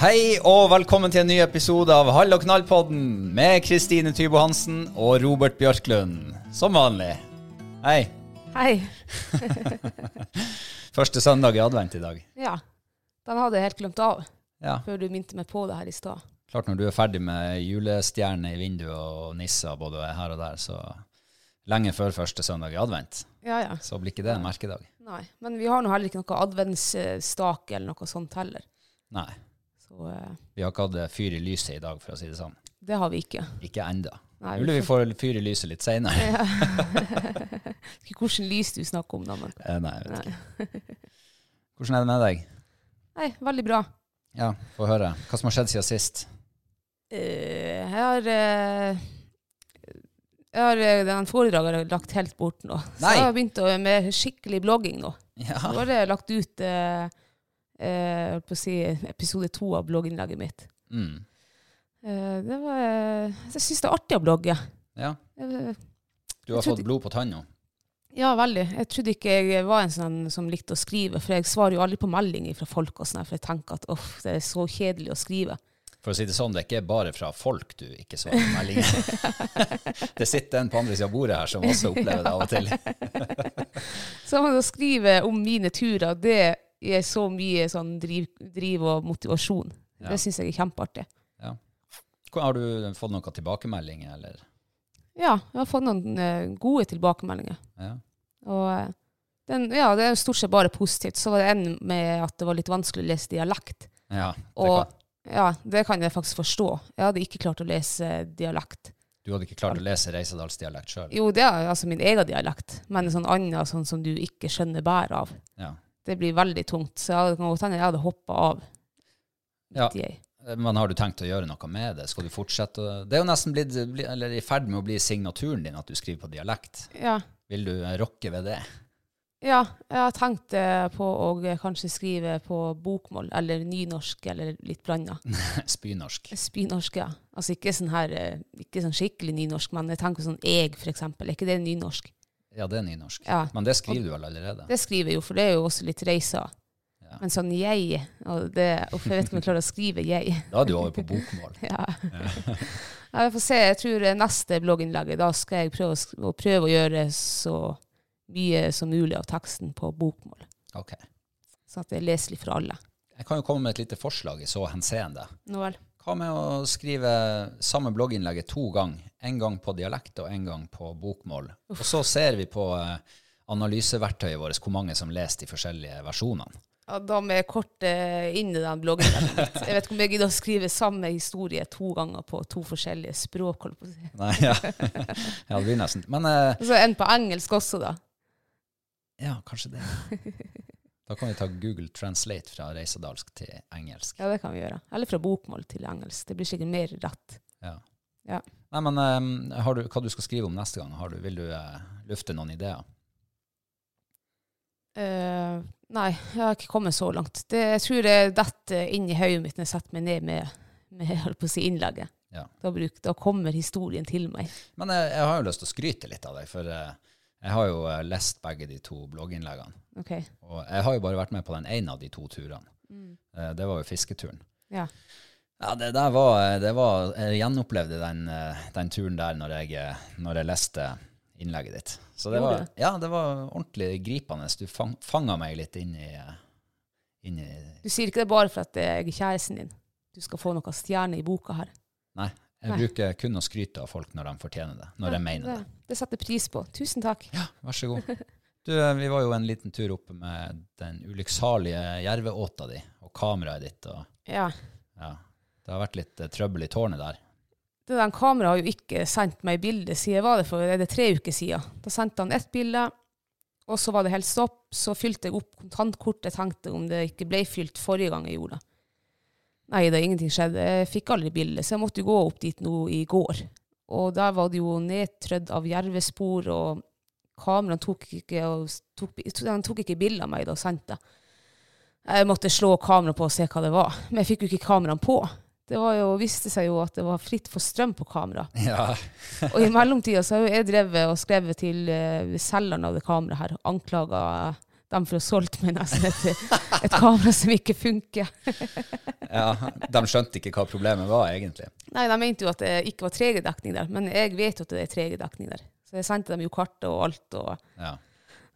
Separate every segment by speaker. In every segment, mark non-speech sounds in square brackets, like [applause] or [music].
Speaker 1: Hei og velkommen til en ny episode av Hall og knall-podden med Kristine Tybo Hansen og Robert Bjørklund. Som vanlig. Hei.
Speaker 2: Hei.
Speaker 1: Første søndag i advent i dag.
Speaker 2: Ja. Den hadde jeg helt glemt av
Speaker 1: Ja,
Speaker 2: før du minte meg på det her i stad.
Speaker 1: Klart når du er ferdig med julestjerner i vinduet og nisser både her og der, så lenge før første søndag i advent,
Speaker 2: Ja, ja.
Speaker 1: så blir ikke det en merkedag.
Speaker 2: Nei. Men vi har nå heller ikke noe adventsstake eller noe sånt heller.
Speaker 1: Nei.
Speaker 2: Så eh,
Speaker 1: Vi har ikke hatt fyr i lyset i dag, for å si det sånn.
Speaker 2: det har vi ikke. [laughs]
Speaker 1: Ikke ennå.
Speaker 2: Nei,
Speaker 1: Mulig vi får fyr i lyset litt seinere. [laughs]
Speaker 2: Ja. Husker ikke hvordan lys du snakker om, da, men
Speaker 1: Eh, Nei, jeg vet ikke. Hvordan er det med deg?
Speaker 2: Nei, veldig bra.
Speaker 1: Ja, få høre. Hva som har skjedd siden sist?
Speaker 2: Eh, jeg har eh, jeg har eh, den foredraget jeg har lagt helt bort nå. Så
Speaker 1: Nei. Ah.
Speaker 2: jeg har begynt å, med skikkelig blogging nå. Nå
Speaker 1: Ja.
Speaker 2: har jeg lagt ut eh, eh, jeg holdt på å si, episode to av blogginnlegget mitt.
Speaker 1: Mm.
Speaker 2: Eh, Det var, eh, jeg syns det er artig å blogge.
Speaker 1: ja.
Speaker 2: Eh,
Speaker 1: Du har
Speaker 2: Jeg trodde-
Speaker 1: fått blod på tanna.
Speaker 2: Ja, veldig. Jeg trodde ikke jeg var en sånn som likte å skrive, for jeg svarer jo aldri på meldinger fra folk, og sånn, her, for jeg tenker at uff, det er så kjedelig å skrive.
Speaker 1: For å si det sånn, det er ikke bare fra folk du ikke svarer på
Speaker 2: [laughs]
Speaker 1: meldinger. det sitter en på andre sida av bordet her som også opplever det av
Speaker 2: [laughs]
Speaker 1: og til.
Speaker 2: Så men å skrive om mine turer, det gir så mye sånn driv, driv og motivasjon.
Speaker 1: Ja.
Speaker 2: Det syns jeg er kjempeartig.
Speaker 1: Hvor- Har du fått noen tilbakemeldinger, eller?
Speaker 2: Ja, jeg har fått noen eh, gode tilbakemeldinger.
Speaker 1: Ja.
Speaker 2: Og eh, den, ja, det er jo stort sett bare positivt. Så var det en med at det var litt vanskelig å lese dialekt.
Speaker 1: ja det
Speaker 2: Og-
Speaker 1: kan-
Speaker 2: Ja, det kan jeg faktisk forstå. Jeg hadde ikke klart å lese dialekt.
Speaker 1: du hadde ikke klart å lese Reisadalsdialekt sjøl?
Speaker 2: Jo, det er altså min egen dialekt, men sånn annen sånn som du ikke skjønner bæret av.
Speaker 1: Ja.
Speaker 2: Det blir veldig tungt, så jeg hadde- kan godt hende jeg hadde hoppa av.
Speaker 1: Ja.
Speaker 2: midt i.
Speaker 1: Men har du tenkt å gjøre noe med det? Skal du fortsette? å- Det er jo nesten blitt, bli- eller i ferd med å bli signaturen din at du skriver på dialekt.
Speaker 2: Ja.
Speaker 1: Vil du eh, rokke ved det? [laughs]
Speaker 2: ja, jeg har tenkt eh, på å eh, kanskje skrive på bokmål, eller nynorsk, eller litt blanda.
Speaker 1: Mm. Spynorsk.
Speaker 2: Spynorsk, ja. Altså ikke sånn her, eh, ikke sånn skikkelig nynorsk, men jeg tenker sånn eg, for eksempel. Er ikke det nynorsk?
Speaker 1: Ja, det er nynorsk.
Speaker 2: Ja.
Speaker 1: Men det skriver du vel allerede?
Speaker 2: Det skriver jeg jo, for det er jo også litt reiser.
Speaker 1: Ja.
Speaker 2: Men sånn jeg, og det, uff, jeg vet ikke om jeg klarer å skrive jeg. [laughs]
Speaker 1: Da er du over på bokmål.
Speaker 2: Ja. ja, vi får se. Jeg tror eh, neste blogginnlegg, da skal jeg prøve å, sk- å prøve å gjøre så mye som mulig av teksten på bokmål.
Speaker 1: Ok.
Speaker 2: Sånn at det er leselig for alle.
Speaker 1: Jeg kan jo komme med et lite forslag i så henseende.
Speaker 2: Nå vel.
Speaker 1: Hva med å skrive samme blogginnlegget to ganger? En gang på dialekt og en gang på bokmål. Og så ser vi på eh, analyseverktøyet vårt hvor mange som leser de forskjellige versjonene. [laughs]
Speaker 2: Ja, da må jeg korte inn i den bloggen. Jeg vet ikke om jeg gidder å skrive samme historie to ganger på to forskjellige språk. holdt på å si.
Speaker 1: Nei, ja. ja, det blir nesten. Men eh,
Speaker 2: Altså en på engelsk også, da.
Speaker 1: ja, kanskje det.
Speaker 2: [laughs]
Speaker 1: Da kan vi ta Google Translate fra reisadalsk til engelsk.
Speaker 2: Ja, det kan vi gjøre. Eller fra bokmål til engelsk. Det blir sikkert mer rett.
Speaker 1: Ja.
Speaker 2: Ja.
Speaker 1: Nei, men eh, har du, hva du skal skrive om neste gang? Har du, vil du eh, lufte noen ideer?
Speaker 2: Eh, nei, jeg har ikke kommet så langt. Det, jeg tror det detter inn i hodet mitt når jeg setter meg ned med, med [laughs] jeg holdt på å si innlegget.
Speaker 1: Ja.
Speaker 2: Da, bruk, da kommer historien til meg.
Speaker 1: Men jeg, jeg har jo lyst til å skryte litt av deg, for eh, jeg har jo eh, lest begge de to blogginnleggene.
Speaker 2: Ok,
Speaker 1: Og jeg har jo bare vært med på den ene av de to turene. Eh, Det var jo fisketuren.
Speaker 2: Mm. ja.
Speaker 1: Ja, det der var, eh, det var Jeg gjenopplevde den, eh, den turen der når jeg, eh, når jeg leste innlegget ditt. Så det
Speaker 2: Gjorde
Speaker 1: var,
Speaker 2: du?
Speaker 1: ja, det var ordentlig gripende. Du fang, fanga meg litt inn i, eh, inn i
Speaker 2: Du sier ikke det bare for at jeg er kjæresten din. Du skal få noen stjerner i boka her.
Speaker 1: Nei. Jeg
Speaker 2: Nei.
Speaker 1: bruker kun å skryte av folk når de fortjener det. Når jeg mener det.
Speaker 2: Det setter jeg pris på. Tusen takk.
Speaker 1: Vær så god. Du, eh, vi var jo en liten tur oppe med den ulykksalige jerveåta di og kameraet ditt. Og,
Speaker 2: Ja.
Speaker 1: ja, det har vært litt eh, trøbbel i tårnet der.
Speaker 2: Det den kameraet har jo ikke sendt meg bilde siden var det for er det tre uker siden. Da sendte han ett bilde, og så var det helt stopp. Så fylte jeg opp kontantkortet, tenkte om det ikke ble fylt forrige gang jeg gjorde det. Nei, det ingenting skjedde. Jeg fikk aldri bilde, så jeg måtte jo gå opp dit nå i går. Og der var det jo nedtrødd av jervespor, og kameraen tok ikke, og tok, den tok ikke bilde av meg da og sendte. Jeg måtte slå kameraet på og se hva det var. Men jeg fikk jo ikke kameraen på. Det var jo, viste seg jo at det var fritt for strøm på kamera.
Speaker 1: [laughs] Ja.
Speaker 2: Og i mellomtida så har jo jeg drevet og skrevet til eh, selgeren av det kameraet her, anklaga dem for å ha solgt meg nesten et, et kamera som ikke funker.
Speaker 1: ja. De skjønte ikke hva problemet var, egentlig.
Speaker 2: Nei, de mente jo at det ikke var 3G-dekning der, men jeg vet jo at det er 3G-dekning der. Så jeg sendte dem jo kartet og alt. Og,
Speaker 1: Ja.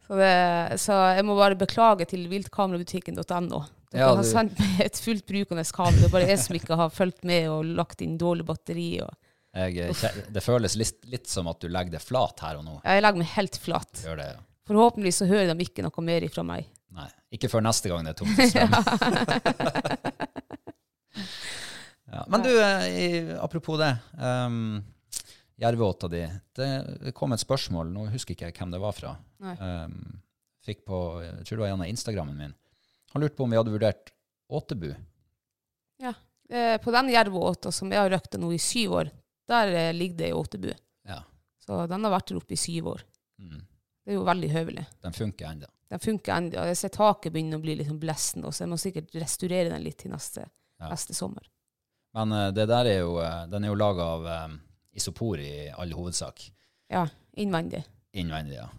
Speaker 2: så, det, så jeg må bare beklage til viltkamerabutikken.no. Dere
Speaker 1: Ja,
Speaker 2: har
Speaker 1: du-
Speaker 2: sendt meg et fullt brukende kamera. Det er bare jeg som ikke har fulgt med og lagt inn dårlig batteri. Og,
Speaker 1: Jeg, eh, kje- det føles litt, litt som at du legger det flat her og nå.
Speaker 2: Ja, jeg legger meg helt flat.
Speaker 1: Gjør det, ja.
Speaker 2: Forhåpentligvis så hører de ikke noe mer ifra meg.
Speaker 1: Nei, ikke før neste gang det er tomt for [laughs] strøm.
Speaker 2: [laughs]
Speaker 1: ja. Men du, eh, i, apropos det. Um, Jerveåta di. Det det kom et spørsmål, nå husker ikke jeg hvem det var fra.
Speaker 2: Nei.
Speaker 1: Um, fikk på, jeg tror det var gjennom Instagrammen min. Han lurte på om vi hadde vurdert åtebu.
Speaker 2: Eh, på den jervåta som jeg har røkta nå i syv år, der eh, ligger det i åtebu.
Speaker 1: Ja.
Speaker 2: Så den har vært der oppe i syv år.
Speaker 1: Mm.
Speaker 2: Det er jo veldig høvelig.
Speaker 1: Den funker ennå.
Speaker 2: Den funker ennå. Jeg ser taket begynner å bli litt sånn blessen, så jeg må sikkert restaurere den litt til neste,
Speaker 1: Ja.
Speaker 2: neste sommer.
Speaker 1: Men eh, det der er jo, eh, den er jo laga av eh, isopor i all hovedsak.
Speaker 2: Ja, innvendig.
Speaker 1: Innvendig, ja.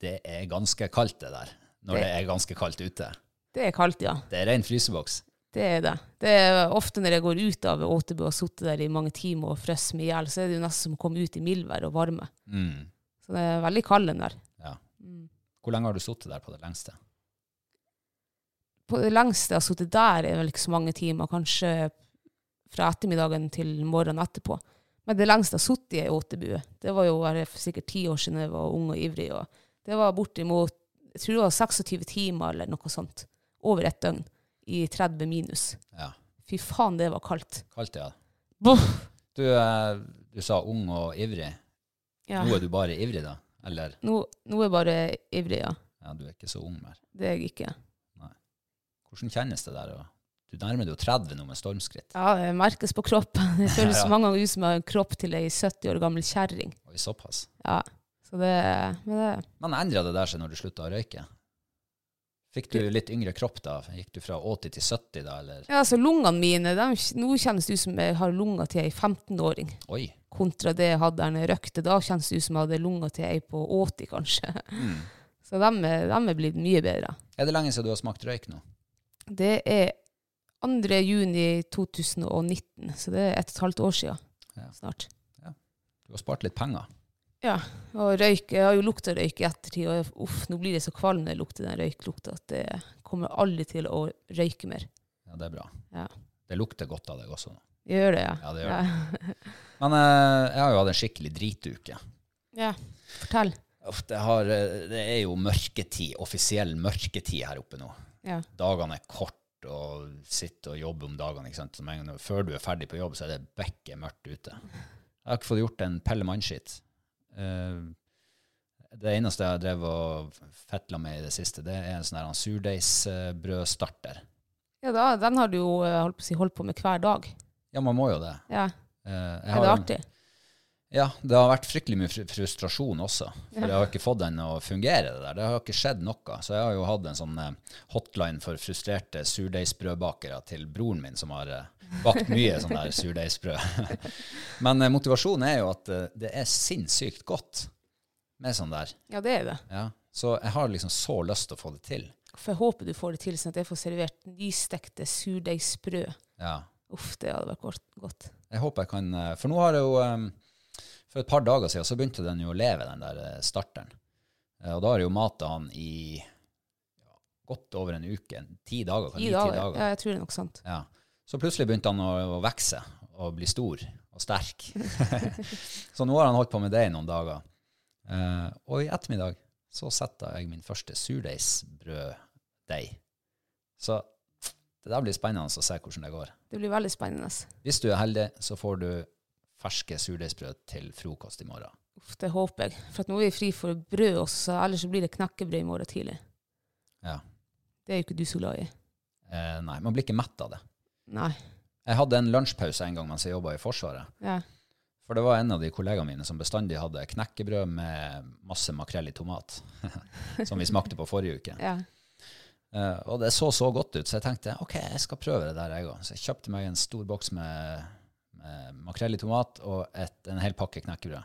Speaker 1: Det er ganske kaldt, det der. Når det,
Speaker 2: Det-
Speaker 1: er ganske kaldt ute.
Speaker 2: Det er kaldt, ja.
Speaker 1: Det er ren fryseboks.
Speaker 2: Det er det. Det er ofte når jeg går ut av Åtebu og har sittet der i mange timer og frøs meg i hjel, så er det jo nesten som å komme ut i mildvær og varme.
Speaker 1: Mm.
Speaker 2: Så det er veldig kald den der.
Speaker 1: Ja. Hvor lenge har du sittet der på det lengste?
Speaker 2: på det lengste jeg har sittet der, er vel ikke så mange timer. Kanskje fra ettermiddagen til morgenen etterpå. Men det lengste jeg har sittet i ei åtebue, det var jo bare for sikkert ti år siden jeg var ung og ivrig. Og det var bortimot jeg tror det var 26 timer eller noe sånt. Over et døgn. I 30 minus.
Speaker 1: Ja.
Speaker 2: Fy faen, det var kaldt.
Speaker 1: Kaldt, ja.
Speaker 2: Buff.
Speaker 1: Du, eh, du sa ung og ivrig.
Speaker 2: Ja.
Speaker 1: Nå er du bare ivrig, da? Eller
Speaker 2: Nå, nå er jeg bare ivrig, ja.
Speaker 1: ja, du er ikke så ung mer.
Speaker 2: Det er jeg ikke.
Speaker 1: Hvordan kjennes det der? å- Du nærmer deg jo 30 nå med stormskritt.
Speaker 2: Ja, det merkes på kroppen. Det føles
Speaker 1: Ja, ja.
Speaker 2: mange ganger ut som jeg har en kropp til ei 70 år gammel kjerring.
Speaker 1: Oi, såpass.
Speaker 2: Ja. Så det, men det
Speaker 1: Men endra det der seg når du slutta å røyke? Fikk du litt yngre kropp da? Gikk du fra 80 til 70 da, eller?
Speaker 2: Ja, altså lungene mine, de, nå kjennes det ut som jeg har lunger til ei 15-åring,
Speaker 1: Oi.
Speaker 2: kontra det jeg hadde når jeg røkte. Da kjennes det ut som jeg hadde lunger til ei på 80, kanskje.
Speaker 1: Mm.
Speaker 2: [laughs] Så de, er- de er blitt mye bedre.
Speaker 1: Er det lenge siden du har smakt røyk nå?
Speaker 2: Det er 2. juni 2019, så det er ett og et halvt år siden
Speaker 1: Ja.
Speaker 2: snart.
Speaker 1: Du har spart litt penger.
Speaker 2: Ja, og røyk, jeg har jo lukta røyk i ettertid, og jeg- uff, nå blir jeg så kvalm når jeg lukter den røyklukta at jeg kommer aldri til å røyke mer.
Speaker 1: Ja, det er bra.
Speaker 2: Ja.
Speaker 1: Det lukter godt av deg også. nå.
Speaker 2: Jeg gjør det, ja. [laughs]
Speaker 1: Ja, det gjør det. Men eh, jeg har jo hatt en skikkelig drituke.
Speaker 2: Ja. Fortell.
Speaker 1: Uff, det, har, eh, det er jo mørketid, offisiell mørketid her oppe nå.
Speaker 2: Ja.
Speaker 1: Dagene er korte, og sitte og jobbe om dagene. ikke sant? Så med en gang- Før du er ferdig på jobb, så er det bekket mørkt ute. Jeg har ikke fått gjort en pelle mannskitt. Eh, det eneste jeg har drevet og fetla med i det siste, det er en sånn her surdeigsbrødstarter.
Speaker 2: ja da, den har du jo eh, holdt på, å si, holdt på med hver dag.
Speaker 1: Ja, man må jo det.
Speaker 2: Ja.
Speaker 1: Eh, jeg
Speaker 2: Er
Speaker 1: har
Speaker 2: det
Speaker 1: en-
Speaker 2: artig?
Speaker 1: Ja, det har vært fryktelig mye fru- frustrasjon også. For jeg har ikke fått den å fungere, det der. Det har ikke skjedd noe. Så jeg har jo hatt en sånn eh, hotline for frustrerte surdeigsbrødbakere til broren min, som har eh, bakt mye sånn der surdeigsbrød. [laughs] Men eh, motivasjonen er jo at eh, det er sinnssykt godt med sånn der.
Speaker 2: Ja, det er det.
Speaker 1: Ja. Så jeg har liksom så lyst til å få det til.
Speaker 2: For jeg håper du får det til, sånn at jeg får servert nystekte surdeigsbrød.
Speaker 1: Ja.
Speaker 2: Uff, det hadde vært godt- godt.
Speaker 1: Jeg håper jeg kan eh, For nå har jeg jo eh, For et par dager siden så begynte den jo å leve, den der eh, starteren. Eh, Og da har jeg jo mata han i ja, godt over en uke. en Ti dager,
Speaker 2: I
Speaker 1: kanskje
Speaker 2: dag,
Speaker 1: ti
Speaker 2: ja,
Speaker 1: dager.
Speaker 2: jeg tror det er nok sant.
Speaker 1: Ja. Så plutselig begynte han å, å vokse og bli stor og [laughs] sterk. så nå har han holdt på med det i noen dager. Eh, og i ettermiddag så setter jeg min første surdeigsbrøddeig. Så det der blir spennende å se hvordan det går.
Speaker 2: Det blir veldig spennende.
Speaker 1: Hvis du er heldig, så får du ferske surdeigsbrød til frokost i morgen.
Speaker 2: Uff, det håper jeg. For at nå er vi fri for brød også, så ellers så blir det knekkebrød i morgen tidlig.
Speaker 1: Ja.
Speaker 2: Det er jo ikke du så glad i.
Speaker 1: Eh, nei, man blir ikke mett av det.
Speaker 2: Nei.
Speaker 1: Jeg hadde en lunsjpause en gang mens jeg jobba i Forsvaret.
Speaker 2: Ja.
Speaker 1: For det var en av de kollegaene mine som bestandig hadde knekkebrød med masse makrell i tomat, [laughs] som vi smakte på forrige uke.
Speaker 2: ja.
Speaker 1: Eh, og det så så godt ut, så jeg tenkte ok, jeg skal prøve det der, jeg òg. Så jeg kjøpte meg en stor boks med, med makrell i tomat og et, en hel pakke knekkebrød.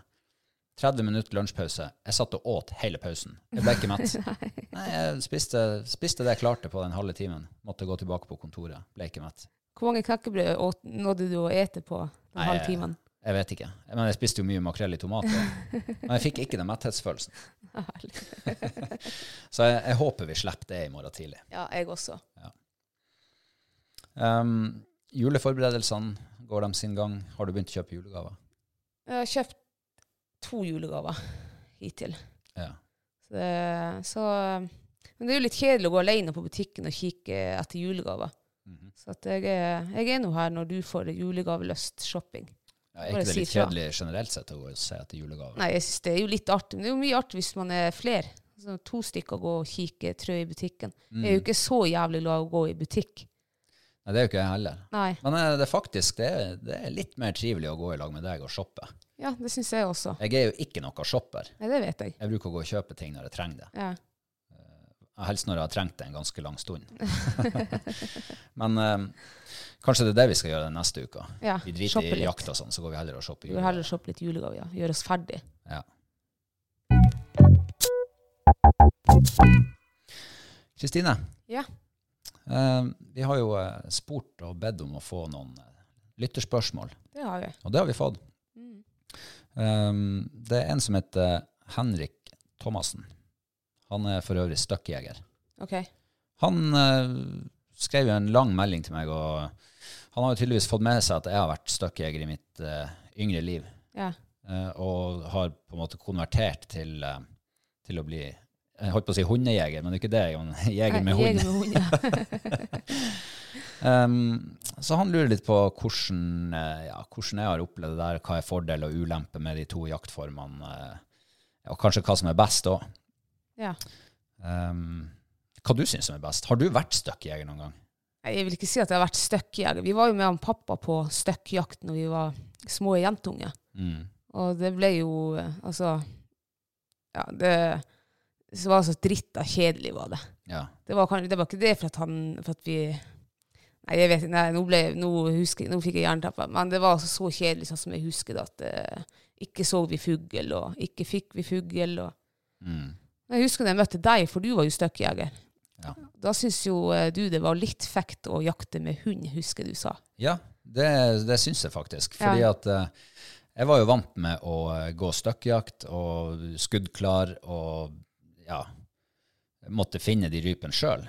Speaker 1: 30 minutter lunsjpause. Jeg satt og åt hele pausen. Jeg ble ikke mett. Nei, jeg spiste, spiste det jeg klarte på den halve timen. Måtte gå tilbake på kontoret. Ble ikke mett.
Speaker 2: Hvor mange knekkebrød åt- nådde du å ete på den
Speaker 1: Nei,
Speaker 2: halve
Speaker 1: jeg-
Speaker 2: timen? [laughs]
Speaker 1: Jeg vet ikke. Men jeg spiste jo mye makrell i tomat. også. Men jeg fikk ikke den metthetsfølelsen. Så jeg, jeg håper vi slipper det i morgen tidlig.
Speaker 2: Ja, jeg også.
Speaker 1: Um, juleforberedelsene, går de sin gang? Har du begynt å kjøpe julegaver?
Speaker 2: Jeg har kjøpt to julegaver hittil.
Speaker 1: Ja.
Speaker 2: Så, det- så Men det er jo litt kjedelig å gå alene på butikken og kikke etter julegaver.
Speaker 1: Mhm.
Speaker 2: Så at jeg, er- jeg er nå her når du får julegavelyst shopping.
Speaker 1: Ja, er
Speaker 2: Bare
Speaker 1: ikke det
Speaker 2: si
Speaker 1: litt
Speaker 2: fra.
Speaker 1: kjedelig generelt sett å gå og se etter julegaver?
Speaker 2: Nei, jeg synes det er jo litt artig, men det er jo mye artig hvis man er flere. Så to stykker går og kikker trø i butikken. Jeg
Speaker 1: Mhm.
Speaker 2: er jo ikke så jævlig glad i å gå i butikk.
Speaker 1: Mm. Nei, det er jo ikke jeg heller.
Speaker 2: Nei.
Speaker 1: Men eh, det er faktisk det er, det er litt mer trivelig å gå i lag med deg og shoppe.
Speaker 2: Ja, det syns jeg også.
Speaker 1: Jeg er jo ikke noe shopper.
Speaker 2: Nei, det vet jeg.
Speaker 1: Jeg bruker å gå og kjøpe ting når jeg trenger det.
Speaker 2: Ja.
Speaker 1: Helst når jeg har trengt det en ganske lang
Speaker 2: [laughs]
Speaker 1: stund. Men eh, kanskje det er det vi skal gjøre den neste uka.
Speaker 2: ja.
Speaker 1: Vi driter
Speaker 2: shoppe
Speaker 1: i
Speaker 2: litt.
Speaker 1: jakt og sånn, så går vi heller og shopper
Speaker 2: Vi vil
Speaker 1: julegaver.
Speaker 2: heller shoppe litt julegaver, ja. Gjøre oss ferdig.
Speaker 1: Ja. Kristine,
Speaker 2: Ja.
Speaker 1: eh, vi har jo eh, spurt og bedt om å få noen eh, lytterspørsmål,
Speaker 2: Det har vi.
Speaker 1: og det har vi fått. Eh, det er en som heter Henrik Thomassen. Han er for øvrig støkkjeger.
Speaker 2: OK.
Speaker 1: Han eh, skrev jo en lang melding til meg, og han har jo tydeligvis fått med seg at jeg har vært støkkjeger i mitt eh, yngre liv.
Speaker 2: Ja.
Speaker 1: Eh, og har på en måte konvertert til, eh, til å bli Jeg holdt på å si hundejeger, men [laughs] det er ikke det. jeg er jo en Jeger med
Speaker 2: Nei,
Speaker 1: hund.
Speaker 2: Jeger med hund, ja.
Speaker 1: Um, så han lurer litt på hvordan, eh, ja, hvordan jeg har opplevd det der, hva er fordel og ulempe med de to jaktformene, eh, og kanskje hva som er best òg.
Speaker 2: ja.
Speaker 1: Um, hva du syns som er best? Har du vært støkkjeger noen gang?
Speaker 2: Nei, Jeg vil ikke si at jeg har vært støkkjeger. Vi var jo med han pappa på støkkjakt når vi var små jentunger.
Speaker 1: Mm.
Speaker 2: Og det ble jo eh, Altså Ja, det så var det så dritta kjedelig, var det.
Speaker 1: Ja.
Speaker 2: Det var, kan- det var ikke det for at han For at vi Nei, jeg vet ikke. Nei, nå, ble, nå, husker, jeg- nå fikk jeg jernteppe. Men det var altså så kjedelig, sånn som jeg husker det, at eh, ikke så vi fugl, og ikke fikk vi fugl, og
Speaker 1: Mm.
Speaker 2: Men Jeg husker da jeg møtte deg, for du var jo støkkjeger.
Speaker 1: Ja.
Speaker 2: Da syns jo eh, du det var litt fekt å jakte med hund, husker du sa.
Speaker 1: Ja, det, det syns jeg faktisk.
Speaker 2: Ja.
Speaker 1: Fordi at eh, jeg var jo vant med å eh, gå støkkjakt og skuddklar og ja, måtte finne de rypene sjøl.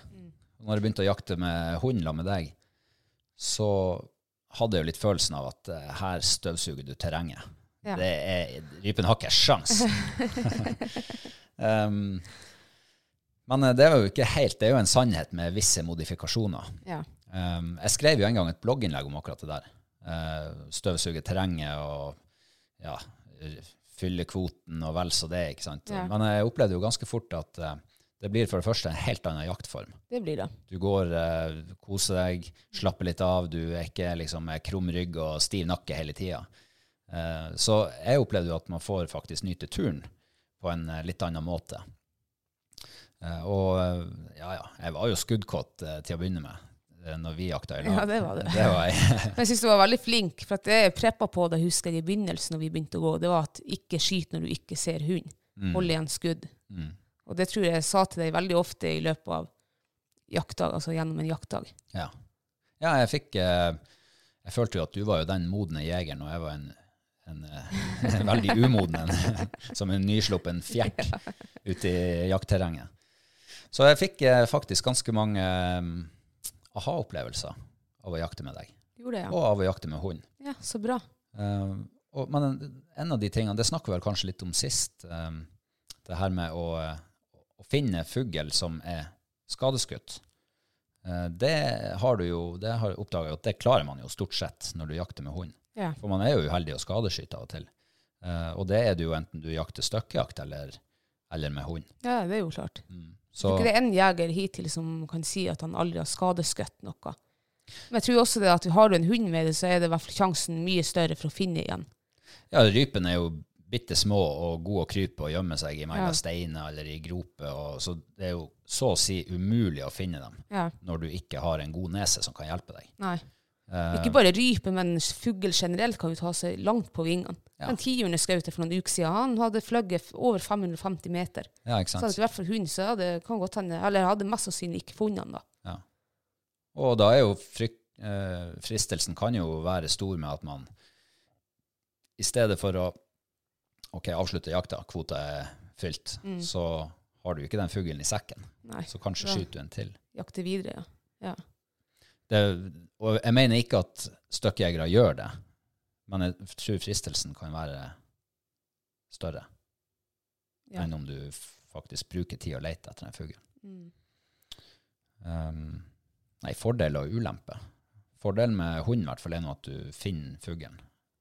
Speaker 1: Når jeg begynte å jakte med hund sammen med deg, så hadde jeg jo litt følelsen av at eh, her støvsuger du terrenget.
Speaker 2: Ja. [laughs]
Speaker 1: Det er, rypen har ikke sjans. Um, men eh, det var jo ikke helt, det er jo en sannhet med visse modifikasjoner.
Speaker 2: Ja.
Speaker 1: Um, jeg skrev jo en gang et blogginnlegg om akkurat det der. Uh, støvsuge terrenget og ja, r- fylle kvoten og vel så det. ikke sant?
Speaker 2: Ja.
Speaker 1: Men jeg opplevde jo ganske fort at eh, det blir for det første en helt annen jaktform.
Speaker 2: Det blir det.
Speaker 1: Du går, eh, koser deg, slapper litt av. Du er ikke liksom med krum rygg og stiv nakke hele tida. Eh, så jeg opplevde jo at man får faktisk nyte turen på en eh, litt annen måte. Eh, og eh, ja, ja, jeg var jo skuddkåt eh, til å begynne med eh, når vi jakta i lag.
Speaker 2: Ja, det var det.
Speaker 1: Det var
Speaker 2: [laughs]
Speaker 1: jeg.
Speaker 2: Men jeg syns du var veldig flink, for at jeg preppa på det, husker jeg, i begynnelsen når vi begynte å gå. Det var at ikke skyt når du ikke ser hund. Hold igjen skudd.
Speaker 1: Mm.
Speaker 2: Og det tror jeg jeg sa til deg veldig ofte i løpet av jaktdag, altså gjennom en jaktdag.
Speaker 1: Ja. ja, jeg fikk eh, Jeg følte jo at du var jo den modne jegeren, og jeg var en, en, eh, [laughs] en veldig umoden en. [laughs] Som en nysluppen fjert ute i jaktterrenget. Så jeg fikk eh, faktisk ganske mange eh, aha-opplevelser av å jakte med deg,
Speaker 2: Gjorde jeg,
Speaker 1: og av å jakte med hund.
Speaker 2: ja. ja. Så bra.
Speaker 1: Eh, og, men en, en av de tingene, det snakker vi vel kanskje litt om sist, eh, det her med å, eh, å finne fugl som er skadeskutt. Eh, det har du jo det har oppdaga at det klarer man jo stort sett når du jakter med hund.
Speaker 2: Ja.
Speaker 1: For man er jo uheldig å skadeskyte av og til. Eh, og det er det jo enten du jakter støkkjakt eller, eller med hund.
Speaker 2: ja, det er jo klart.
Speaker 1: Så,
Speaker 2: Ikke det er en jeger hittil som kan si at han aldri har skadeskutt noe. Men jeg tror også det at har du en hund med deg, så er det i hvert fall sjansen mye større for å finne igjen.
Speaker 1: Ja, rypene er jo bitte små og gode å krype og gjemme seg i mellom
Speaker 2: Ja.
Speaker 1: steiner eller i groper, og så det er jo så å si umulig å finne dem
Speaker 2: Ja.
Speaker 1: når du ikke har en god nese som kan hjelpe deg. Eh,
Speaker 2: Nei. Ikke bare rype, men fugl generelt kan jo ta seg langt på vingene.
Speaker 1: Ja.
Speaker 2: Den tiurene skjøt jeg for noen uker siden. Han hadde fløyet f- over 550 meter.
Speaker 1: Ja, ikke
Speaker 2: Så hadde
Speaker 1: sant?
Speaker 2: det ikke vært for hund, så hadde, kan godt hende, eller jeg hadde mest sannsynlig ikke funnet han da.
Speaker 1: Ja. Og da er jo frykt, eh, fristelsen kan jo være stor med at man i stedet for å ok, avslutte jakta, kvota er fylt, så har du ikke den fuglen i sekken.
Speaker 2: Mm. Nei.
Speaker 1: Så kanskje
Speaker 2: Ja.
Speaker 1: skyter du en til.
Speaker 2: Jakte videre, ja. ja.
Speaker 1: det, og jeg mener ikke at støkkjegere gjør det, men jeg tror fristelsen kan være større
Speaker 2: Ja.
Speaker 1: enn om du f- faktisk bruker tid å lete etter den fuglen.
Speaker 2: Mm.
Speaker 1: Um, nei, fordel og ulempe. Fordelen med hund i hvert fall er nå at du finner fuglen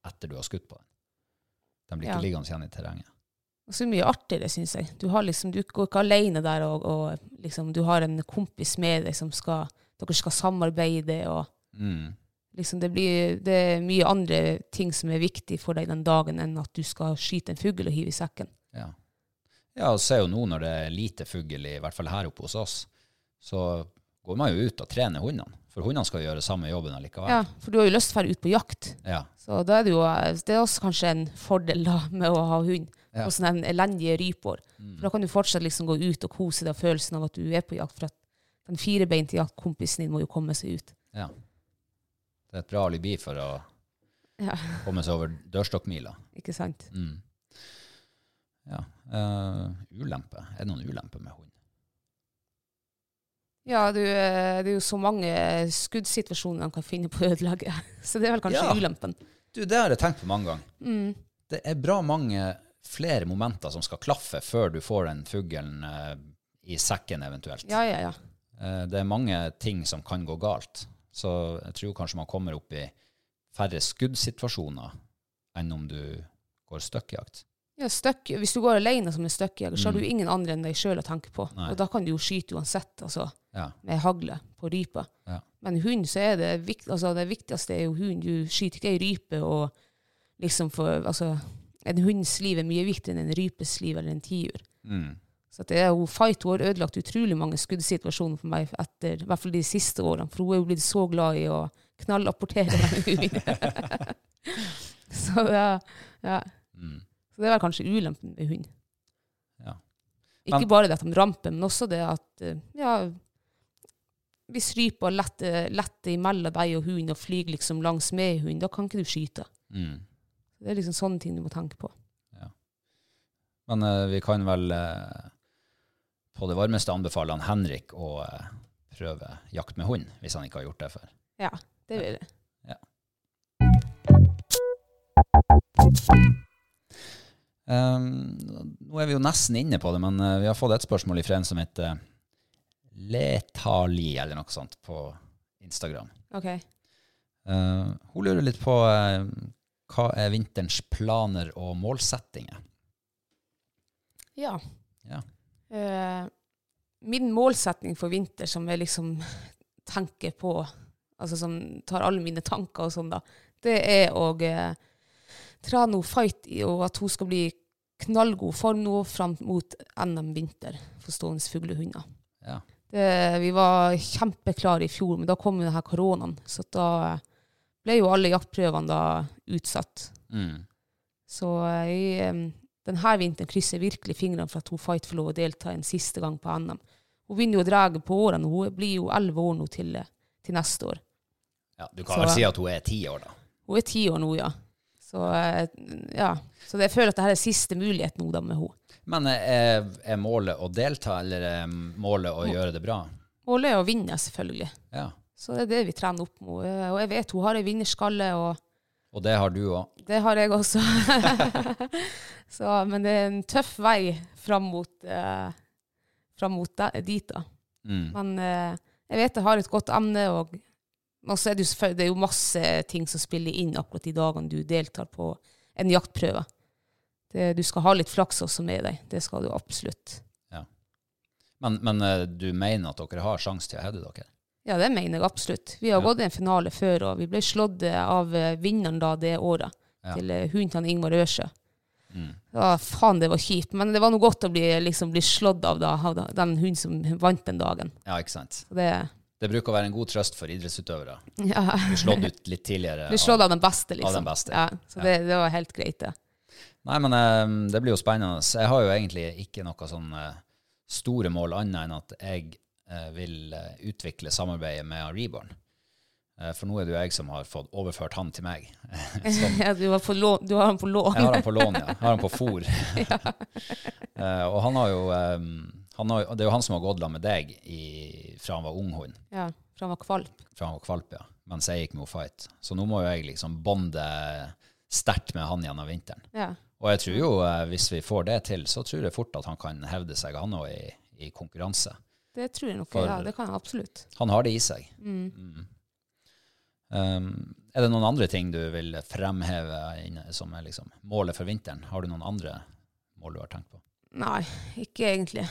Speaker 1: etter du har skutt på den. Den blir ikke
Speaker 2: Ja.
Speaker 1: liggende igjen i terrenget.
Speaker 2: Og så mye artigere, syns jeg. Du, har liksom, du går ikke alene der, og, og liksom, du har en kompis med deg som skal Dere skal samarbeide, og
Speaker 1: Mm.
Speaker 2: liksom det, blir, det er mye andre ting som er viktig for deg den dagen enn at du skal skyte en fugl og hive i sekken.
Speaker 1: Ja. ja, og se jo nå når det er lite fugl, i hvert fall her oppe hos oss, så går man jo ut og trener hundene. For hundene skal gjøre samme jobben allikevel.
Speaker 2: Ja, For du har jo lyst til å dra ut på jakt.
Speaker 1: Ja.
Speaker 2: Så da er det, jo, det er også kanskje en fordel da, med å ha hund.
Speaker 1: Ja.
Speaker 2: Og sånne elendige rypår. For da kan du fortsatt liksom gå ut og kose deg av følelsen av at du er på jakt. For at den firebeinte jaktkompisen din må jo komme seg ut.
Speaker 1: ja. Det er et bra alibi for å
Speaker 2: Ja,
Speaker 1: komme seg over dørstokkmila.
Speaker 2: ikke sant?
Speaker 1: Mm. Ja. eh, ulempe. Er det noen ulempe med hund?
Speaker 2: Ja, du, eh, det er jo så mange skuddsituasjoner de kan finne på å ødelegge. [laughs] Så det er vel kanskje
Speaker 1: Ja.
Speaker 2: ulempen.
Speaker 1: Du, det har jeg tenkt på mange ganger.
Speaker 2: Mm.
Speaker 1: Det er bra mange flere momenter som skal klaffe før du får den fuglen eh, i sekken eventuelt.
Speaker 2: Ja, ja, ja.
Speaker 1: Eh, Det er mange ting som kan gå galt. Så jeg tror kanskje man kommer opp i færre skuddsituasjoner enn om du går støkkjakt.
Speaker 2: ja støkk, hvis du går alene som en støkkjeger, så har du ingen andre enn deg sjøl å tenke på.
Speaker 1: Mm. Nei.
Speaker 2: Og da kan du jo skyte uansett, altså,
Speaker 1: Ja.
Speaker 2: med hagle på rype.
Speaker 1: Ja.
Speaker 2: Men hund, så er det, vikt, altså, det viktigste er jo hund. Du skyter ikke ei rype og liksom for Altså, en hunds liv er mye viktigere enn en rypes liv eller en tiur.
Speaker 1: Mm.
Speaker 2: Så at det er jo fight har ødelagt utrolig mange skuddsituasjoner for meg etter i hvert fall de siste årene, for hun er jo blitt så glad i å knallapportere meg.
Speaker 1: [laughs]
Speaker 2: [laughs] så ja, ja.
Speaker 1: Mm.
Speaker 2: Så det er vel kanskje ulempen med hund.
Speaker 1: Ja.
Speaker 2: Ikke
Speaker 1: Men-
Speaker 2: bare det at de ramper, men også det at eh, ja, hvis rypa letter, letter imellom deg og hunden og flyr liksom langs med hunden, da kan ikke du skyte.
Speaker 1: Mm.
Speaker 2: Det er liksom sånne ting du må tenke på.
Speaker 1: Men eh, vi kan vel eh, på det varmeste anbefale han Henrik å eh, prøve jakt med hund, hvis han ikke har gjort det før.
Speaker 2: Ja, det vil jeg.
Speaker 1: Ehm, nå er vi jo nesten inne på det, men eh, vi har fått et spørsmål fra en som heter Letali, eller noe sånt, på Instagram.
Speaker 2: Ok.
Speaker 1: Eh, hun lurer litt på eh, hva er vinterens planer og målsettinger?
Speaker 2: Ja.
Speaker 1: Ja.
Speaker 2: Eh, min målsetning for vinter, som jeg liksom [laughs] tenker på, altså som tar alle mine tanker og sånn, da, det er å eh, trene henne fight i, og at hun skal bli knallgod form nå fram mot NM vinter for stående fuglehunder.
Speaker 1: Ja.
Speaker 2: Det, vi var kjempeklare i fjor, men da kom jo denne koronaen, så da ble jo alle jaktprøvene da utsatt.
Speaker 1: Mm.
Speaker 2: Så jeg, em, denne vinteren krysser jeg virkelig fingrene for at hun Fight får lov å delta en siste gang på NM. Hun begynner jo å dra på årene. Hun blir jo elleve år nå til, til neste år.
Speaker 1: Ja, du
Speaker 2: kan Så- vel si
Speaker 1: at hun er ti år, da.
Speaker 2: Hun er ti år nå, ja. Så, eh, ja. Så jeg føler at dette er siste mulighet nå da med henne.
Speaker 1: Men eh, er, er målet å delta, eller er målet å gjøre det bra?
Speaker 2: Målet er å vinne, selvfølgelig.
Speaker 1: Ja.
Speaker 2: Så det er det vi trener opp mot. Eh, Og jeg vet hun har ei vinnerskalle, og
Speaker 1: Og det har du òg.
Speaker 2: det har jeg også. [laughs] Så, men det er en tøff vei fram mot, eh, fram mot de- dit, da.
Speaker 1: Mm.
Speaker 2: Men eh, jeg vet jeg har et godt emne, og og så er det, jo selvfølgelig- det er jo masse ting som spiller inn akkurat de dagene du deltar på en jaktprøve. Det, du skal ha litt flaks også med deg. Det skal du absolutt.
Speaker 1: Men, men eh, du mener at dere har sjanse til å hevde dere?
Speaker 2: Ja, det mener jeg absolutt. Vi har gått i en finale før, og vi ble slått eh, av eh, vinneren da det året,
Speaker 1: Ja.
Speaker 2: til eh, hunden til Ingvar Ørsjø. Ja, faen, det var kjipt, men det var noe godt å bli, liksom, bli slått av, da, av da- den hunden som vant den dagen.
Speaker 1: Ja, ikke sant?
Speaker 2: Så det,
Speaker 1: Det bruker å være en god trøst for idrettsutøvere.
Speaker 2: [laughs] ja.
Speaker 1: Bli slått ut litt tidligere.
Speaker 2: Bli slått av den beste, liksom.
Speaker 1: Av den beste.
Speaker 2: Ja, så det, det var helt greit, det.
Speaker 1: Nei, men eh, det blir jo spennende. Jeg har jo egentlig ikke noe sånn eh, store mål annet enn at jeg eh, vil eh, utvikle samarbeidet med Reborn. Eh, for nå er det jo jeg som har fått overført han til meg. Som,
Speaker 2: Ja, du, har på lån, du har den på lån.
Speaker 1: jeg har han på lån, ja. Jeg har han på
Speaker 2: [laughs]
Speaker 1: fôr. [laughs] Eh, og han har jo, eh, han har, jo- det er jo han som har gått sammen med deg i, fra han var ung hund,
Speaker 2: Ja, for han var kvalp.
Speaker 1: fra han var kvalp, ja. Mens jeg gikk med Fight. Så nå må jo jeg liksom bonde sterkt med han gjennom vinteren.
Speaker 2: Ja.
Speaker 1: Og jeg tror jo, eh, hvis vi får det til, så tror jeg fort at han kan hevde seg, han òg, i, i konkurranse.
Speaker 2: Det tror jeg nok.
Speaker 1: For-
Speaker 2: ja, det kan jeg absolutt.
Speaker 1: Han har det i seg. Mm. Um, er det noen andre ting du vil fremheve inne, som er liksom målet for vinteren? Har du noen andre mål du har tenkt på?
Speaker 2: Nei, ikke egentlig.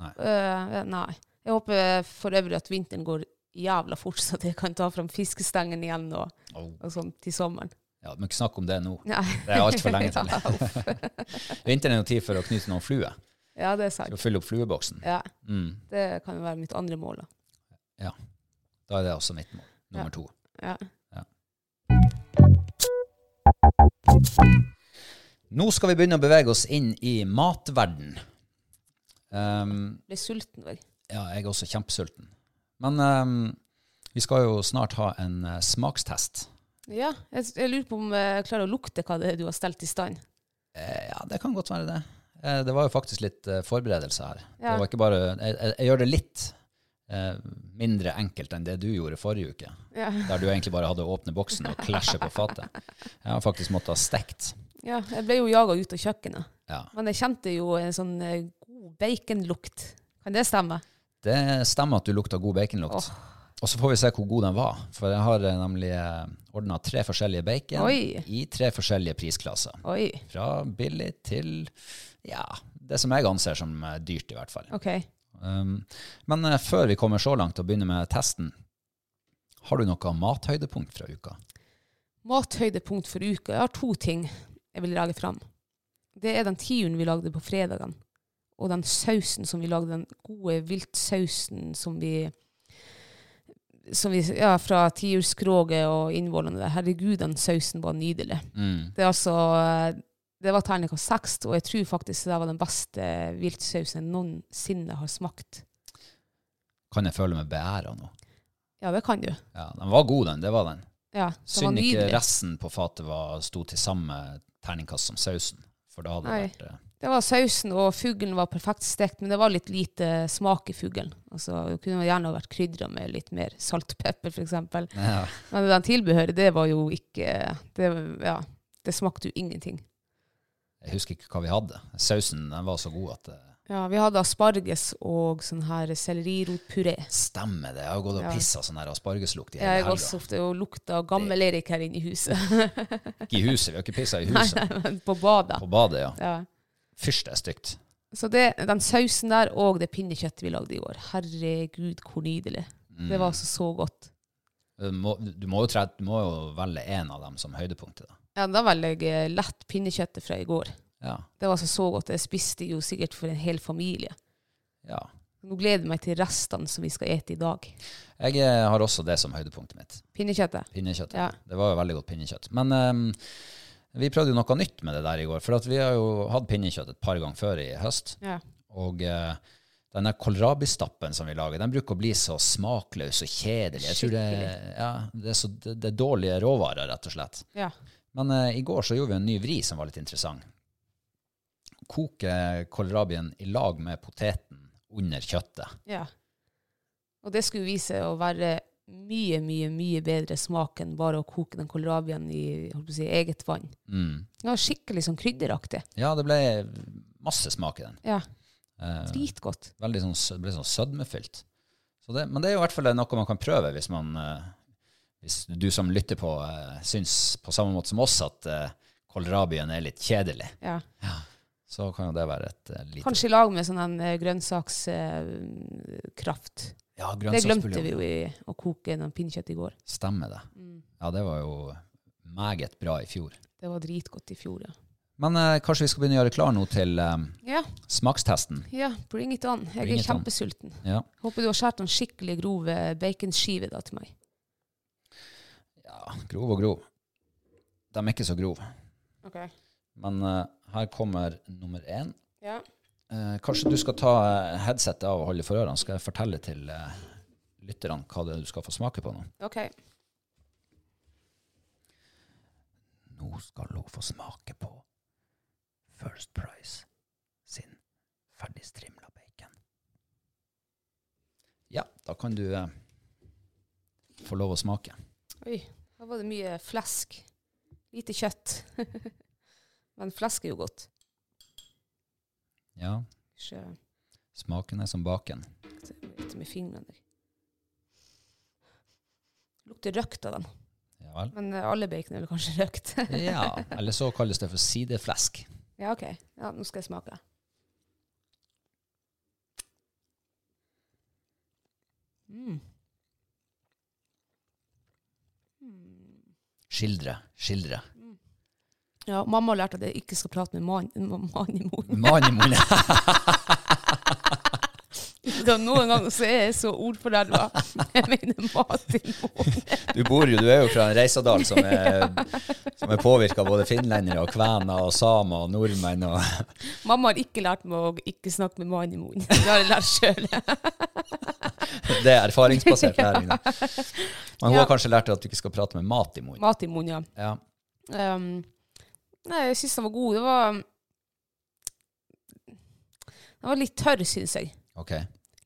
Speaker 1: Nei.
Speaker 2: Øh, nei. Jeg håper for øvrig at vinteren går jævla fort, så at jeg kan ta fram fiskestengen igjen og,
Speaker 1: Oh,
Speaker 2: og sånn til sommeren.
Speaker 1: ja, du må ikke snakke om det nå.
Speaker 2: Nei.
Speaker 1: Det er altfor lenge til.
Speaker 2: [laughs] Ja, uff.
Speaker 1: Vinteren er jo tid for å knyte noen fluer.
Speaker 2: ja, det er
Speaker 1: For
Speaker 2: sant.
Speaker 1: å fylle opp flueboksen.
Speaker 2: Ja,
Speaker 1: Mm,
Speaker 2: det kan jo være mitt andre mål. da.
Speaker 1: da er det også mitt mål.
Speaker 2: Ja.
Speaker 1: Nummer to.
Speaker 2: Ja.
Speaker 1: Nå skal vi begynne å bevege oss inn i matverden. Um,
Speaker 2: Blir sulten òg.
Speaker 1: Ja, jeg er også kjempesulten. Men ehm, vi skal jo snart ha en eh, smakstest.
Speaker 2: Ja, jeg, jeg lurer på om jeg klarer å lukte hva det er du har stelt i stand.
Speaker 1: Eh, ja, det kan godt være det. Eh, det var jo faktisk litt eh, forberedelse her.
Speaker 2: Ja.
Speaker 1: Det var ikke bare, jeg, jeg, jeg gjør det litt eh, mindre enkelt enn det du gjorde forrige uke,
Speaker 2: Ja,
Speaker 1: der du egentlig bare hadde å åpne boksen og klasje på fatet. Jeg har faktisk måttet ha stekt.
Speaker 2: ja jeg ble jo jaga ut av kjøkkenet.
Speaker 1: Ja,
Speaker 2: Men jeg kjente jo en sånn eh, god baconlukt. Kan det stemme?
Speaker 1: det stemmer at du lukta god baconlukt. Og så får vi se hvor god den var, for jeg har eh, nemlig eh, ordnet tre forskjellige bacon
Speaker 2: Oi.
Speaker 1: i tre forskjellige prisklasser.
Speaker 2: Oi.
Speaker 1: Fra billig til ja, det som jeg anser som eh, dyrt, i hvert fall.
Speaker 2: OK.
Speaker 1: Um, men eh, før vi kommer så langt og begynner med testen, har du noe mathøydepunkt fra uka?
Speaker 2: Mathøydepunkt for uka. Jeg har to ting jeg vil lage fram. Det er den tiuren vi lagde på fredagen, og den sausen som vi lagde, den gode viltsausen som vi som vi, ja, Fra tiurskroget og innvollene. Herregud, den sausen var nydelig. Det er altså Det var terningkast seks, og jeg tror faktisk det var den beste viltsausen jeg noensinne har smakt.
Speaker 1: Kan jeg føle meg beæra nå?
Speaker 2: Ja, det kan du.
Speaker 1: Ja, den var god, den. Det var den.
Speaker 2: Ja, det var
Speaker 1: Synd ikke
Speaker 2: nydelig.
Speaker 1: resten på fatet var, sto til samme terningkast som sausen. For da hadde det
Speaker 2: Nei.
Speaker 1: vært eh,
Speaker 2: Det var sausen, og fuglen var perfekt stekt, men det var litt lite smak i fuglen. Altså, det kunne gjerne vært krydra med litt mer salt og pepper, f.eks.
Speaker 1: eh, [laughs] ja.
Speaker 2: Men den tilbehøret, det var jo ikke det, Ja, det smakte jo ingenting.
Speaker 1: Jeg husker ikke hva vi hadde. Sausen den var så god at eh,
Speaker 2: Ja, vi hadde asparges og sånn her sellerirotpuré.
Speaker 1: Stemmer det. Jeg har gått og
Speaker 2: Ja.
Speaker 1: pissa sånn her aspargeslukt i hele
Speaker 2: Jeg
Speaker 1: helga.
Speaker 2: også ofte og lukta gammel Erik her inne i
Speaker 1: [laughs]
Speaker 2: huset.
Speaker 1: Ikke i huset, vi har ikke pissa i
Speaker 2: [laughs]
Speaker 1: huset.
Speaker 2: På badet.
Speaker 1: På badet, ja.
Speaker 2: Ja.
Speaker 1: Fyrst, det er stygt.
Speaker 2: Så det, den sausen der og det pinnekjøttet vi lagde i år. Herregud, hvor nydelig.
Speaker 1: Mm.
Speaker 2: Det var altså så godt.
Speaker 1: Du må, du må, jo, tre, du må jo velge én av dem som høydepunktet. Da.
Speaker 2: Ja, da velger jeg eh, lett pinnekjøttet fra i går.
Speaker 1: Ja.
Speaker 2: Det var altså så godt. Jeg spiste jo sikkert for en hel familie.
Speaker 1: ja.
Speaker 2: Nå gleder jeg meg til restene som vi skal ete i dag.
Speaker 1: Jeg eh, har også det som høydepunktet mitt.
Speaker 2: Pinnekjøttet.
Speaker 1: Pinnekjøtt.
Speaker 2: Ja.
Speaker 1: Det var jo veldig godt pinnekjøtt. Men ehm, vi prøvde jo noe nytt med det der i går. For at vi har jo hatt pinnekjøtt et par ganger før i høst.
Speaker 2: Ja.
Speaker 1: Og eh, denne kålrabistappen som vi lager, den bruker å bli så smakløs og kjedelig. Jeg tror det, ja, det, er så, det, det er dårlige råvarer, rett og slett.
Speaker 2: ja.
Speaker 1: Men eh, i går så gjorde vi en ny vri som var litt interessant. Koke kålrabien i lag med poteten under kjøttet.
Speaker 2: Ja. Og det skulle vise å være mye, mye, mye bedre smak enn bare å koke den kålrabien i jeg holdt på å si, eget vann.
Speaker 1: Mm.
Speaker 2: Det var skikkelig sånn krydderaktig.
Speaker 1: Ja, det ble masse smak i den.
Speaker 2: Ja,
Speaker 1: Eh,
Speaker 2: Dritgodt.
Speaker 1: veldig sånn, sø- ble sånn sødmefylt. Så det, men det er jo i hvert fall noe man kan prøve hvis man eh, hvis du som lytter på, eh, syns på samme måte som oss at eh, kålrabien er litt kjedelig.
Speaker 2: Ja.
Speaker 1: Så kan jo det være et eh, lite
Speaker 2: Kanskje i lag med sånn grønnsakskraft.
Speaker 1: ja,
Speaker 2: eh, det glemte
Speaker 1: grønnsaksbuljong.
Speaker 2: vi jo i Mm. å koke den pinnekjøttet i går.
Speaker 1: Stemmer det. Ja, det var jo meget bra i fjor.
Speaker 2: Det var dritgodt i fjor, ja.
Speaker 1: Men eh, kanskje vi skal begynne å gjøre klar nå til eh,
Speaker 2: Ja,
Speaker 1: smakstesten.
Speaker 2: ja bring it on. Jeg
Speaker 1: Bring
Speaker 2: er
Speaker 1: it on.
Speaker 2: kjempesulten.
Speaker 1: Ja.
Speaker 2: Håper du har skåret noen skikkelig grove baconskiver da til meg.
Speaker 1: ja, grov og grov. De er ikke så grove.
Speaker 2: Ok.
Speaker 1: Men eh, her kommer nummer én.
Speaker 2: Ja.
Speaker 1: Eh, kanskje du skal ta eh, headsetet av og holde for ørene, skal jeg fortelle til eh, lytterne hva det er du skal få smake på nå.
Speaker 2: Ok.
Speaker 1: Nå skal hun få smake på First Price sin ferdigstrimla bacon. Ja, da kan du eh, få lov å smake.
Speaker 2: Oi, her var det mye flesk. Lite kjøtt. [laughs] Men flesk er jo godt.
Speaker 1: Ja,
Speaker 2: Ikke
Speaker 1: smaken er som baken.
Speaker 2: det er litt med fingrene der. Lukter røkt av dem.
Speaker 1: Ja
Speaker 2: [laughs]
Speaker 1: vel.
Speaker 2: Men eh, alle bacon er vel kanskje røkt.
Speaker 1: [laughs] Ja, eller så kalles det for sideflesk.
Speaker 2: ja, OK. Ja, nå skal jeg smake. Mm.
Speaker 1: Skildre, skildre.
Speaker 2: Ja, mamma har lært at jeg ikke skal prate med mannen man i [laughs] munnen.
Speaker 1: Mann i munnen.
Speaker 2: Så Noen ganger så er jeg så ordforderva. [laughs] Jeg mener mat i munnen.
Speaker 1: Du bor jo, du er jo fra en reisadal som er, som er påvirka både finlendere og kvener og samer og nordmenn og [laughs]
Speaker 2: Mamma har ikke lært meg å ikke snakke med mannen i munnen. Det har jeg lært sjøl. [laughs]
Speaker 1: Det er erfaringsbasert læring. da. Men hun
Speaker 2: Ja.
Speaker 1: har kanskje lært at du ikke skal prate med mat i munnen.
Speaker 2: Mat i munnen, ja.
Speaker 1: Ja.
Speaker 2: Ehm, nei, jeg syns den var god. Det var Den var litt tørr, syns jeg.
Speaker 1: Ok.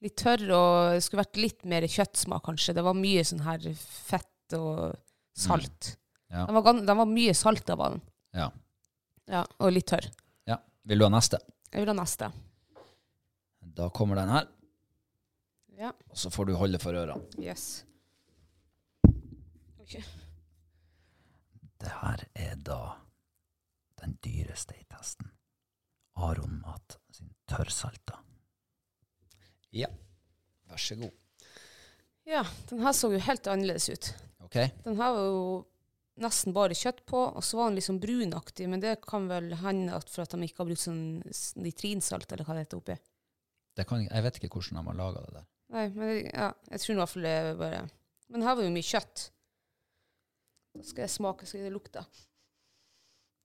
Speaker 2: Litt tørr og det skulle vært litt mer kjøttsmak, kanskje. Det var mye sånn her fett og salt.
Speaker 1: Ja.
Speaker 2: Den, var gan den var mye salt av den.
Speaker 1: Ja.
Speaker 2: Ja, og litt tørr.
Speaker 1: ja. Vil du ha neste?
Speaker 2: Jeg vil ha neste.
Speaker 1: Da kommer den her,
Speaker 2: Ja.
Speaker 1: og så får du holde for ørene.
Speaker 2: Yes.
Speaker 1: Det her er da den dyreste i testen. Aron Mat sin tørrsalta. Ja. Vær så god.
Speaker 2: Ja, den her så jo helt annerledes ut.
Speaker 1: Ok.
Speaker 2: Den her var jo nesten bare kjøtt på, og så var den liksom brunaktig, men det kan vel hende at for at de ikke har brukt sånn s- nitrinsalt, eller hva det heter oppi.
Speaker 1: Det kan, jeg vet ikke hvordan de har laga det der.
Speaker 2: Nei, men det- ja, jeg tror i hvert fall det er bare Men her var jo mye kjøtt. Da skal jeg smake, skal det lukte.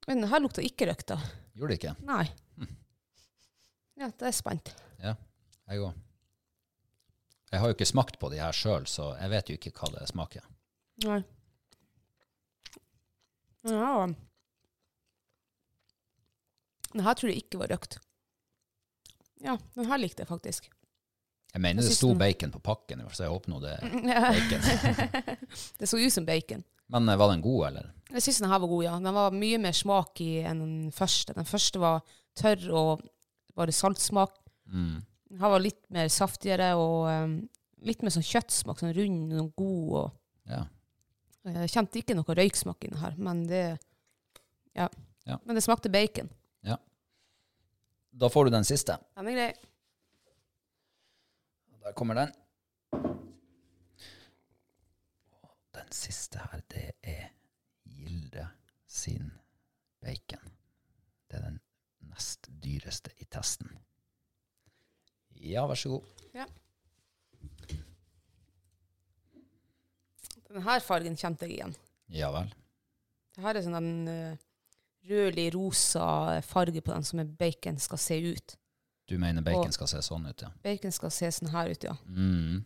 Speaker 2: Men den her lukta ikke røkta.
Speaker 1: Gjorde det ikke?
Speaker 2: Nei. Ja, da er jeg spent.
Speaker 1: Ja, jeg òg. Jeg har jo ikke smakt på de her sjøl, så jeg vet jo ikke hva det smaker.
Speaker 2: Nei. Ja. Den her tror jeg ikke var røkt. Ja, den her likte jeg [laughs] faktisk.
Speaker 1: Jeg mener
Speaker 2: Jeg
Speaker 1: det
Speaker 2: synes
Speaker 1: sto
Speaker 2: den-
Speaker 1: bacon [laughs] på pakken, i hvert fall, så jeg håper nå det er bacon.
Speaker 2: det så ut som bacon.
Speaker 1: Men eh, var den god, eller?
Speaker 2: Jeg syns den her var god, ja. Den var mye mer smak i enn den første. Den første var tørr og bare saltsmak.
Speaker 1: Mm.
Speaker 2: Den her var litt mer saftigere og eh, litt mer sånn kjøttsmak, sånn rund og god. og eh,
Speaker 1: Ja.
Speaker 2: Jeg kjente ikke noe røyksmak inni her, men det ja.
Speaker 1: Ja.
Speaker 2: Men det smakte bacon.
Speaker 1: Da får du den siste.
Speaker 2: Den er grei.
Speaker 1: Der kommer den. Og den siste her, det er Gilde sin bacon. Det er den nest dyreste i testen. Ja, vær så god.
Speaker 2: Ja. Denne her fargen kjente jeg igjen.
Speaker 1: Ja vel.
Speaker 2: Det her er sånn den eh, rødlig-rosa farge på den som en bacon skal se ut.
Speaker 1: Du mener bacon
Speaker 2: Og-
Speaker 1: skal se sånn ut, ja.
Speaker 2: Bacon skal se sånn her ut, ja.
Speaker 1: Mm.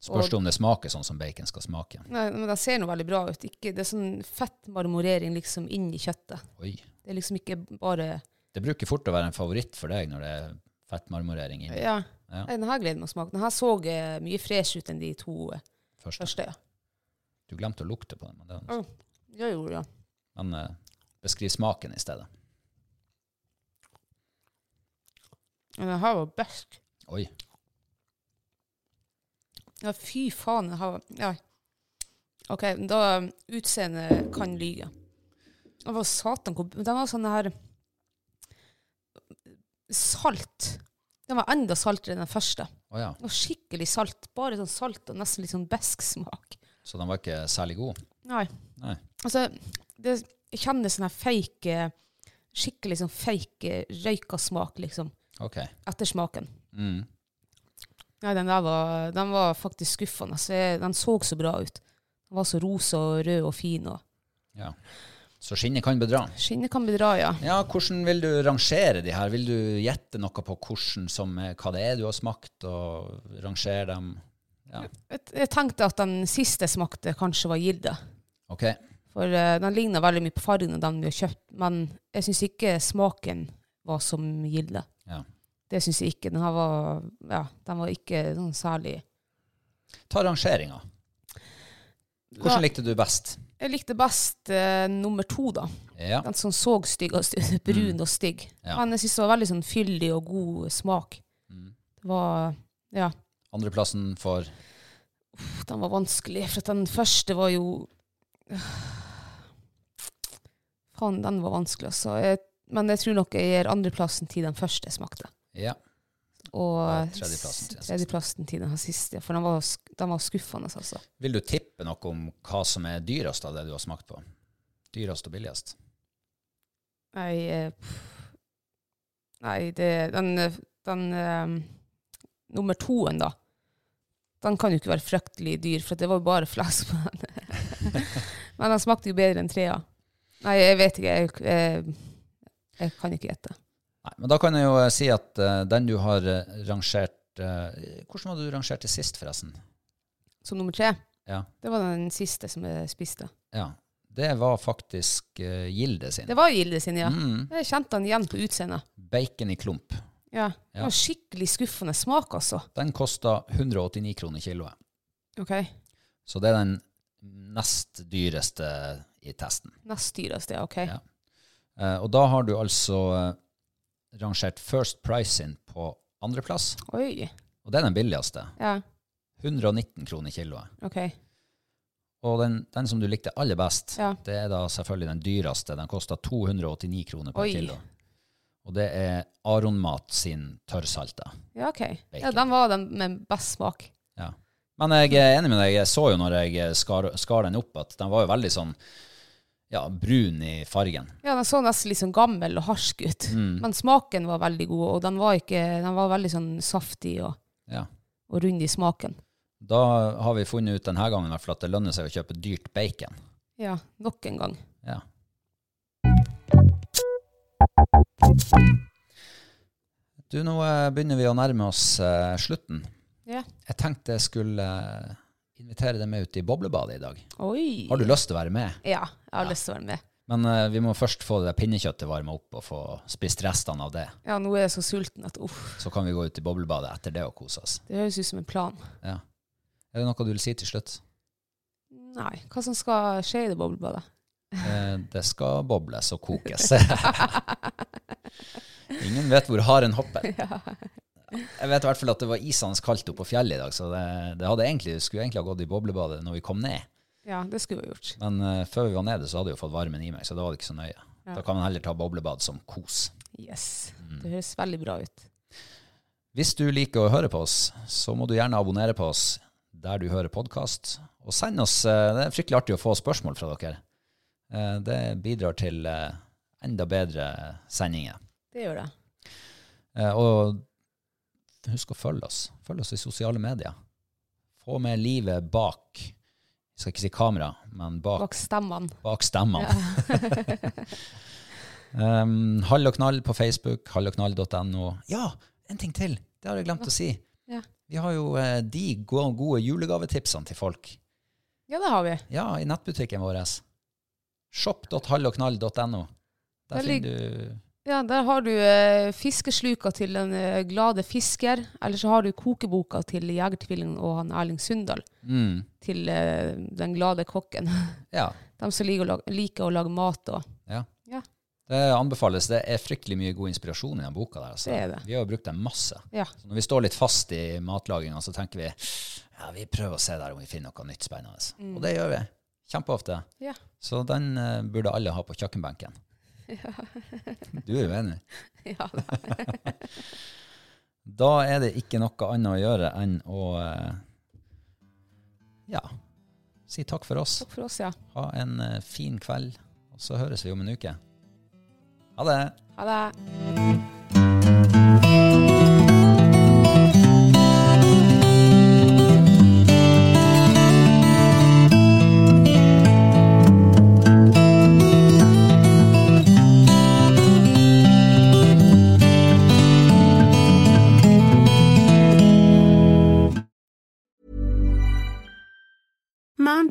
Speaker 1: Spørs
Speaker 2: Og-
Speaker 1: det om det smaker sånn som bacon skal smake.
Speaker 2: Nei, men Den ser nå veldig bra ut. Ikke, det er sånn fett marmorering liksom inn i kjøttet.
Speaker 1: Oi.
Speaker 2: Det er liksom ikke bare
Speaker 1: Det bruker fort å være en favoritt for deg når det er fettmarmorering inni.
Speaker 2: Ja.
Speaker 1: Ja.
Speaker 2: Nei, Den her gleder jeg meg å smake. Den her så eh, mye fresh ut enn de to eh,
Speaker 1: Først.
Speaker 2: første. ja.
Speaker 1: Du glemte å lukte på den. Men, det er noe
Speaker 2: Mm. Ja, jo, ja.
Speaker 1: Men eh, beskriv smaken i stedet.
Speaker 2: Men den her var best.
Speaker 1: Oi.
Speaker 2: Ja, fy faen. Den her var ja. OK, da Utseendet kan lyge. Den var satan hvor Den var sånn her Salt. Den var enda saltere enn den første.
Speaker 1: Å ja.
Speaker 2: Den var skikkelig salt. Bare sånn salt og nesten litt sånn besk smak.
Speaker 1: Så den var ikke særlig god?
Speaker 2: Nei.
Speaker 1: Nei.
Speaker 2: Altså, det, jeg kjenner sånn her fake eh, Skikkelig sånn fake røyka smak, liksom.
Speaker 1: OK.
Speaker 2: Ettersmaken.
Speaker 1: Mm.
Speaker 2: Nei, den der var, den var faktisk skuffende. Så jeg, den så så bra ut. Den var så rosa og rød og fin. Og
Speaker 1: Ja. Så skinnet kan bedra.
Speaker 2: skinnet kan bedra, ja.
Speaker 1: Ja, hvordan vil du rangere de her? Vil du gjette noe på hvordan som, er- hva det er du har smakt, og rangere dem? Ja.
Speaker 2: Jeg, jeg tenkte at den siste smakte kanskje var Gilde.
Speaker 1: OK.
Speaker 2: For eh, den ligna veldig mye på fargen av den vi har kjøpt, men jeg syns ikke smaken var som Gilde.
Speaker 1: Ja.
Speaker 2: Det syns jeg ikke. Den her var, ja, den var ikke sånn særlig
Speaker 1: Ta rangeringa.
Speaker 2: Ja.
Speaker 1: Hvordan likte du best?
Speaker 2: Jeg likte best eh, nummer to, da.
Speaker 1: Ja.
Speaker 2: Den som så styggest ut. [laughs] Brun og stygg.
Speaker 1: Mm. Ja.
Speaker 2: Men jeg syns det var veldig sånn fyldig og god smak.
Speaker 1: Mm.
Speaker 2: Det var Ja.
Speaker 1: Andreplassen for
Speaker 2: Uff, Den var vanskelig, for at den første var jo [sighs] Faen, den var vanskelig, altså. Jeg, men jeg tror nok jeg gir andreplassen til den første jeg smakte.
Speaker 1: Ja.
Speaker 2: Og
Speaker 1: Og tredjeplassen til den
Speaker 2: tredjeplassen til den her siste. For den var, sk- den var skuffende, altså.
Speaker 1: Vil du tippe noe om hva som er dyrest av det du har smakt på? Dyrest og billigst?
Speaker 2: Nei, eh, pff. Nei det, den, eh, den eh, nummer toen, da. Den kan jo ikke være fryktelig dyr, for det var jo bare flass på den. [laughs] Men den smakte jo bedre enn trea. Nei, jeg vet ikke. Jeg, jeg, jeg kan ikke gjette.
Speaker 1: Nei, men da kan jeg jo eh, si at eh, den du har eh, rangert eh, Hvordan hadde du rangert det sist, forresten?
Speaker 2: Som nummer tre.
Speaker 1: Ja.
Speaker 2: Det var den siste som jeg spiste.
Speaker 1: ja. Det var faktisk eh, Gilde sin.
Speaker 2: Det var Gilde sin, ja.
Speaker 1: Mm.
Speaker 2: Jeg kjente den igjen på utseendet.
Speaker 1: Bacon i klump.
Speaker 2: Ja. Det
Speaker 1: Ja.
Speaker 2: var skikkelig skuffende smak, altså.
Speaker 1: Den kosta 189 kroner kiloet.
Speaker 2: Ok,
Speaker 1: Så det er den nest dyreste i testen.
Speaker 2: Nest dyreste, ja. Ok.
Speaker 1: Ja. Eh, og da har du altså eh, rangert First Price sin på andreplass,
Speaker 2: Oi.
Speaker 1: og det er den billigste.
Speaker 2: Ja,
Speaker 1: 119 kroner kiloet.
Speaker 2: ok.
Speaker 1: Og den, den som du likte aller best,
Speaker 2: Ja.
Speaker 1: det er da selvfølgelig den dyreste. Den kosta 289 kroner per
Speaker 2: Oi.
Speaker 1: kilo. Og det er Aronmat sin tørrsalte.
Speaker 2: Ja, ok. Ja,
Speaker 1: Bacon.
Speaker 2: den var den med best smak.
Speaker 1: Ja. Men jeg er enig med deg. Jeg så jo når jeg skar, skar den opp, at den var jo veldig sånn ja, brun i fargen.
Speaker 2: Ja, den så nesten litt sånn gammel og harsk ut.
Speaker 1: Mm.
Speaker 2: Men smaken var veldig god, og den var, ikke, den var veldig sånn saftig og,
Speaker 1: Ja.
Speaker 2: og rund i smaken.
Speaker 1: Da har vi funnet ut denne gangen i hvert fall at det lønner seg å kjøpe dyrt bacon.
Speaker 2: Ja, nok en gang.
Speaker 1: Ja. Du, nå eh, begynner vi å nærme oss eh, slutten.
Speaker 2: Ja.
Speaker 1: Jeg tenkte jeg skulle eh, invitere deg med ut i boblebadet i dag.
Speaker 2: Oi.
Speaker 1: Har du lyst til å være med?
Speaker 2: Ja, jeg har lyst til å være med.
Speaker 1: Men eh, vi må først få det der pinnekjøttet varma opp og få spist restene av det.
Speaker 2: Ja, nå er jeg så sulten at uff,
Speaker 1: Så kan vi gå ut i boblebadet etter det og kose oss.
Speaker 2: det høres ut som en plan. [laughs]
Speaker 1: Ja. Er det noe du vil si til slutt?
Speaker 2: Nei. Hva som skal skje i det
Speaker 1: [laughs]
Speaker 2: boblebadet?
Speaker 1: Eh, Det skal bobles og kokes.
Speaker 2: [laughs]
Speaker 1: Ingen vet hvor haren hopper. Jeg vet i hvert fall at det var isende kaldt oppe på fjellet i dag, så det, det hadde egentlig, skulle egentlig ha gått i boblebadet når vi kom ned.
Speaker 2: Ja, det skulle vi ha gjort.
Speaker 1: Men eh, før vi var nede, så hadde jeg jo fått varmen i meg, så da var det ikke så nøye.
Speaker 2: Ja.
Speaker 1: Da kan man heller ta boblebad som kos.
Speaker 2: Yes.
Speaker 1: Mm.
Speaker 2: Det høres veldig bra ut.
Speaker 1: Hvis du liker å høre på oss, så må du gjerne abonnere på oss der du hører podkast. Og send oss eh, Det er fryktelig artig å få spørsmål fra dere. Eh, Det bidrar til eh, enda bedre sendinger.
Speaker 2: Det gjør det.
Speaker 1: Eh, Og husk å følge oss. Følg oss i sosiale medier. Få med livet bak Jeg skal ikke si kamera, men bak,
Speaker 2: Bak stemmene.
Speaker 1: bak stemmene. um, Hall og knall på Facebook, hallogknall.no. Ja, en ting til! Det har jeg glemt å si.
Speaker 2: Ja.
Speaker 1: Vi har jo eh, de gode, gode julegavetipsene til folk.
Speaker 2: [laughs] ja, det har vi.
Speaker 1: Ja, i nettbutikken vår. Shop.hallogknall.no. Der
Speaker 2: Der lig-
Speaker 1: finner du
Speaker 2: Ja, Der har du eh, fiskesluka til den eh, glade fisker, eller så har du kokeboka til Jegertvillingen og han Erling Sundal
Speaker 1: mm,
Speaker 2: til eh, den glade kokken. [laughs]
Speaker 1: Ja.
Speaker 2: De som liker å lage, liker å lage mat og
Speaker 1: ja.
Speaker 2: Ja.
Speaker 1: Det anbefales. Det er fryktelig mye god inspirasjon i den boka. der. altså.
Speaker 2: Det er det.
Speaker 1: Vi har jo brukt den masse.
Speaker 2: Ja.
Speaker 1: Så når vi står litt fast i matlaginga, så tenker vi ja, vi prøver å se der om vi finner noe nytt spennende.
Speaker 2: Mm.
Speaker 1: Og det gjør vi. Kjempeofte.
Speaker 2: Ja.
Speaker 1: Så den eh, burde alle ha på kjøkkenbenken. [laughs] du er jo enig?
Speaker 2: [laughs] ja.
Speaker 1: Da er det ikke noe annet å gjøre enn å eh, ja, si takk for oss.
Speaker 2: Takk for oss, ja.
Speaker 1: Ha en eh, fin kveld, og så høres vi om en uke. Ha det!
Speaker 2: Ha det.
Speaker 3: Mom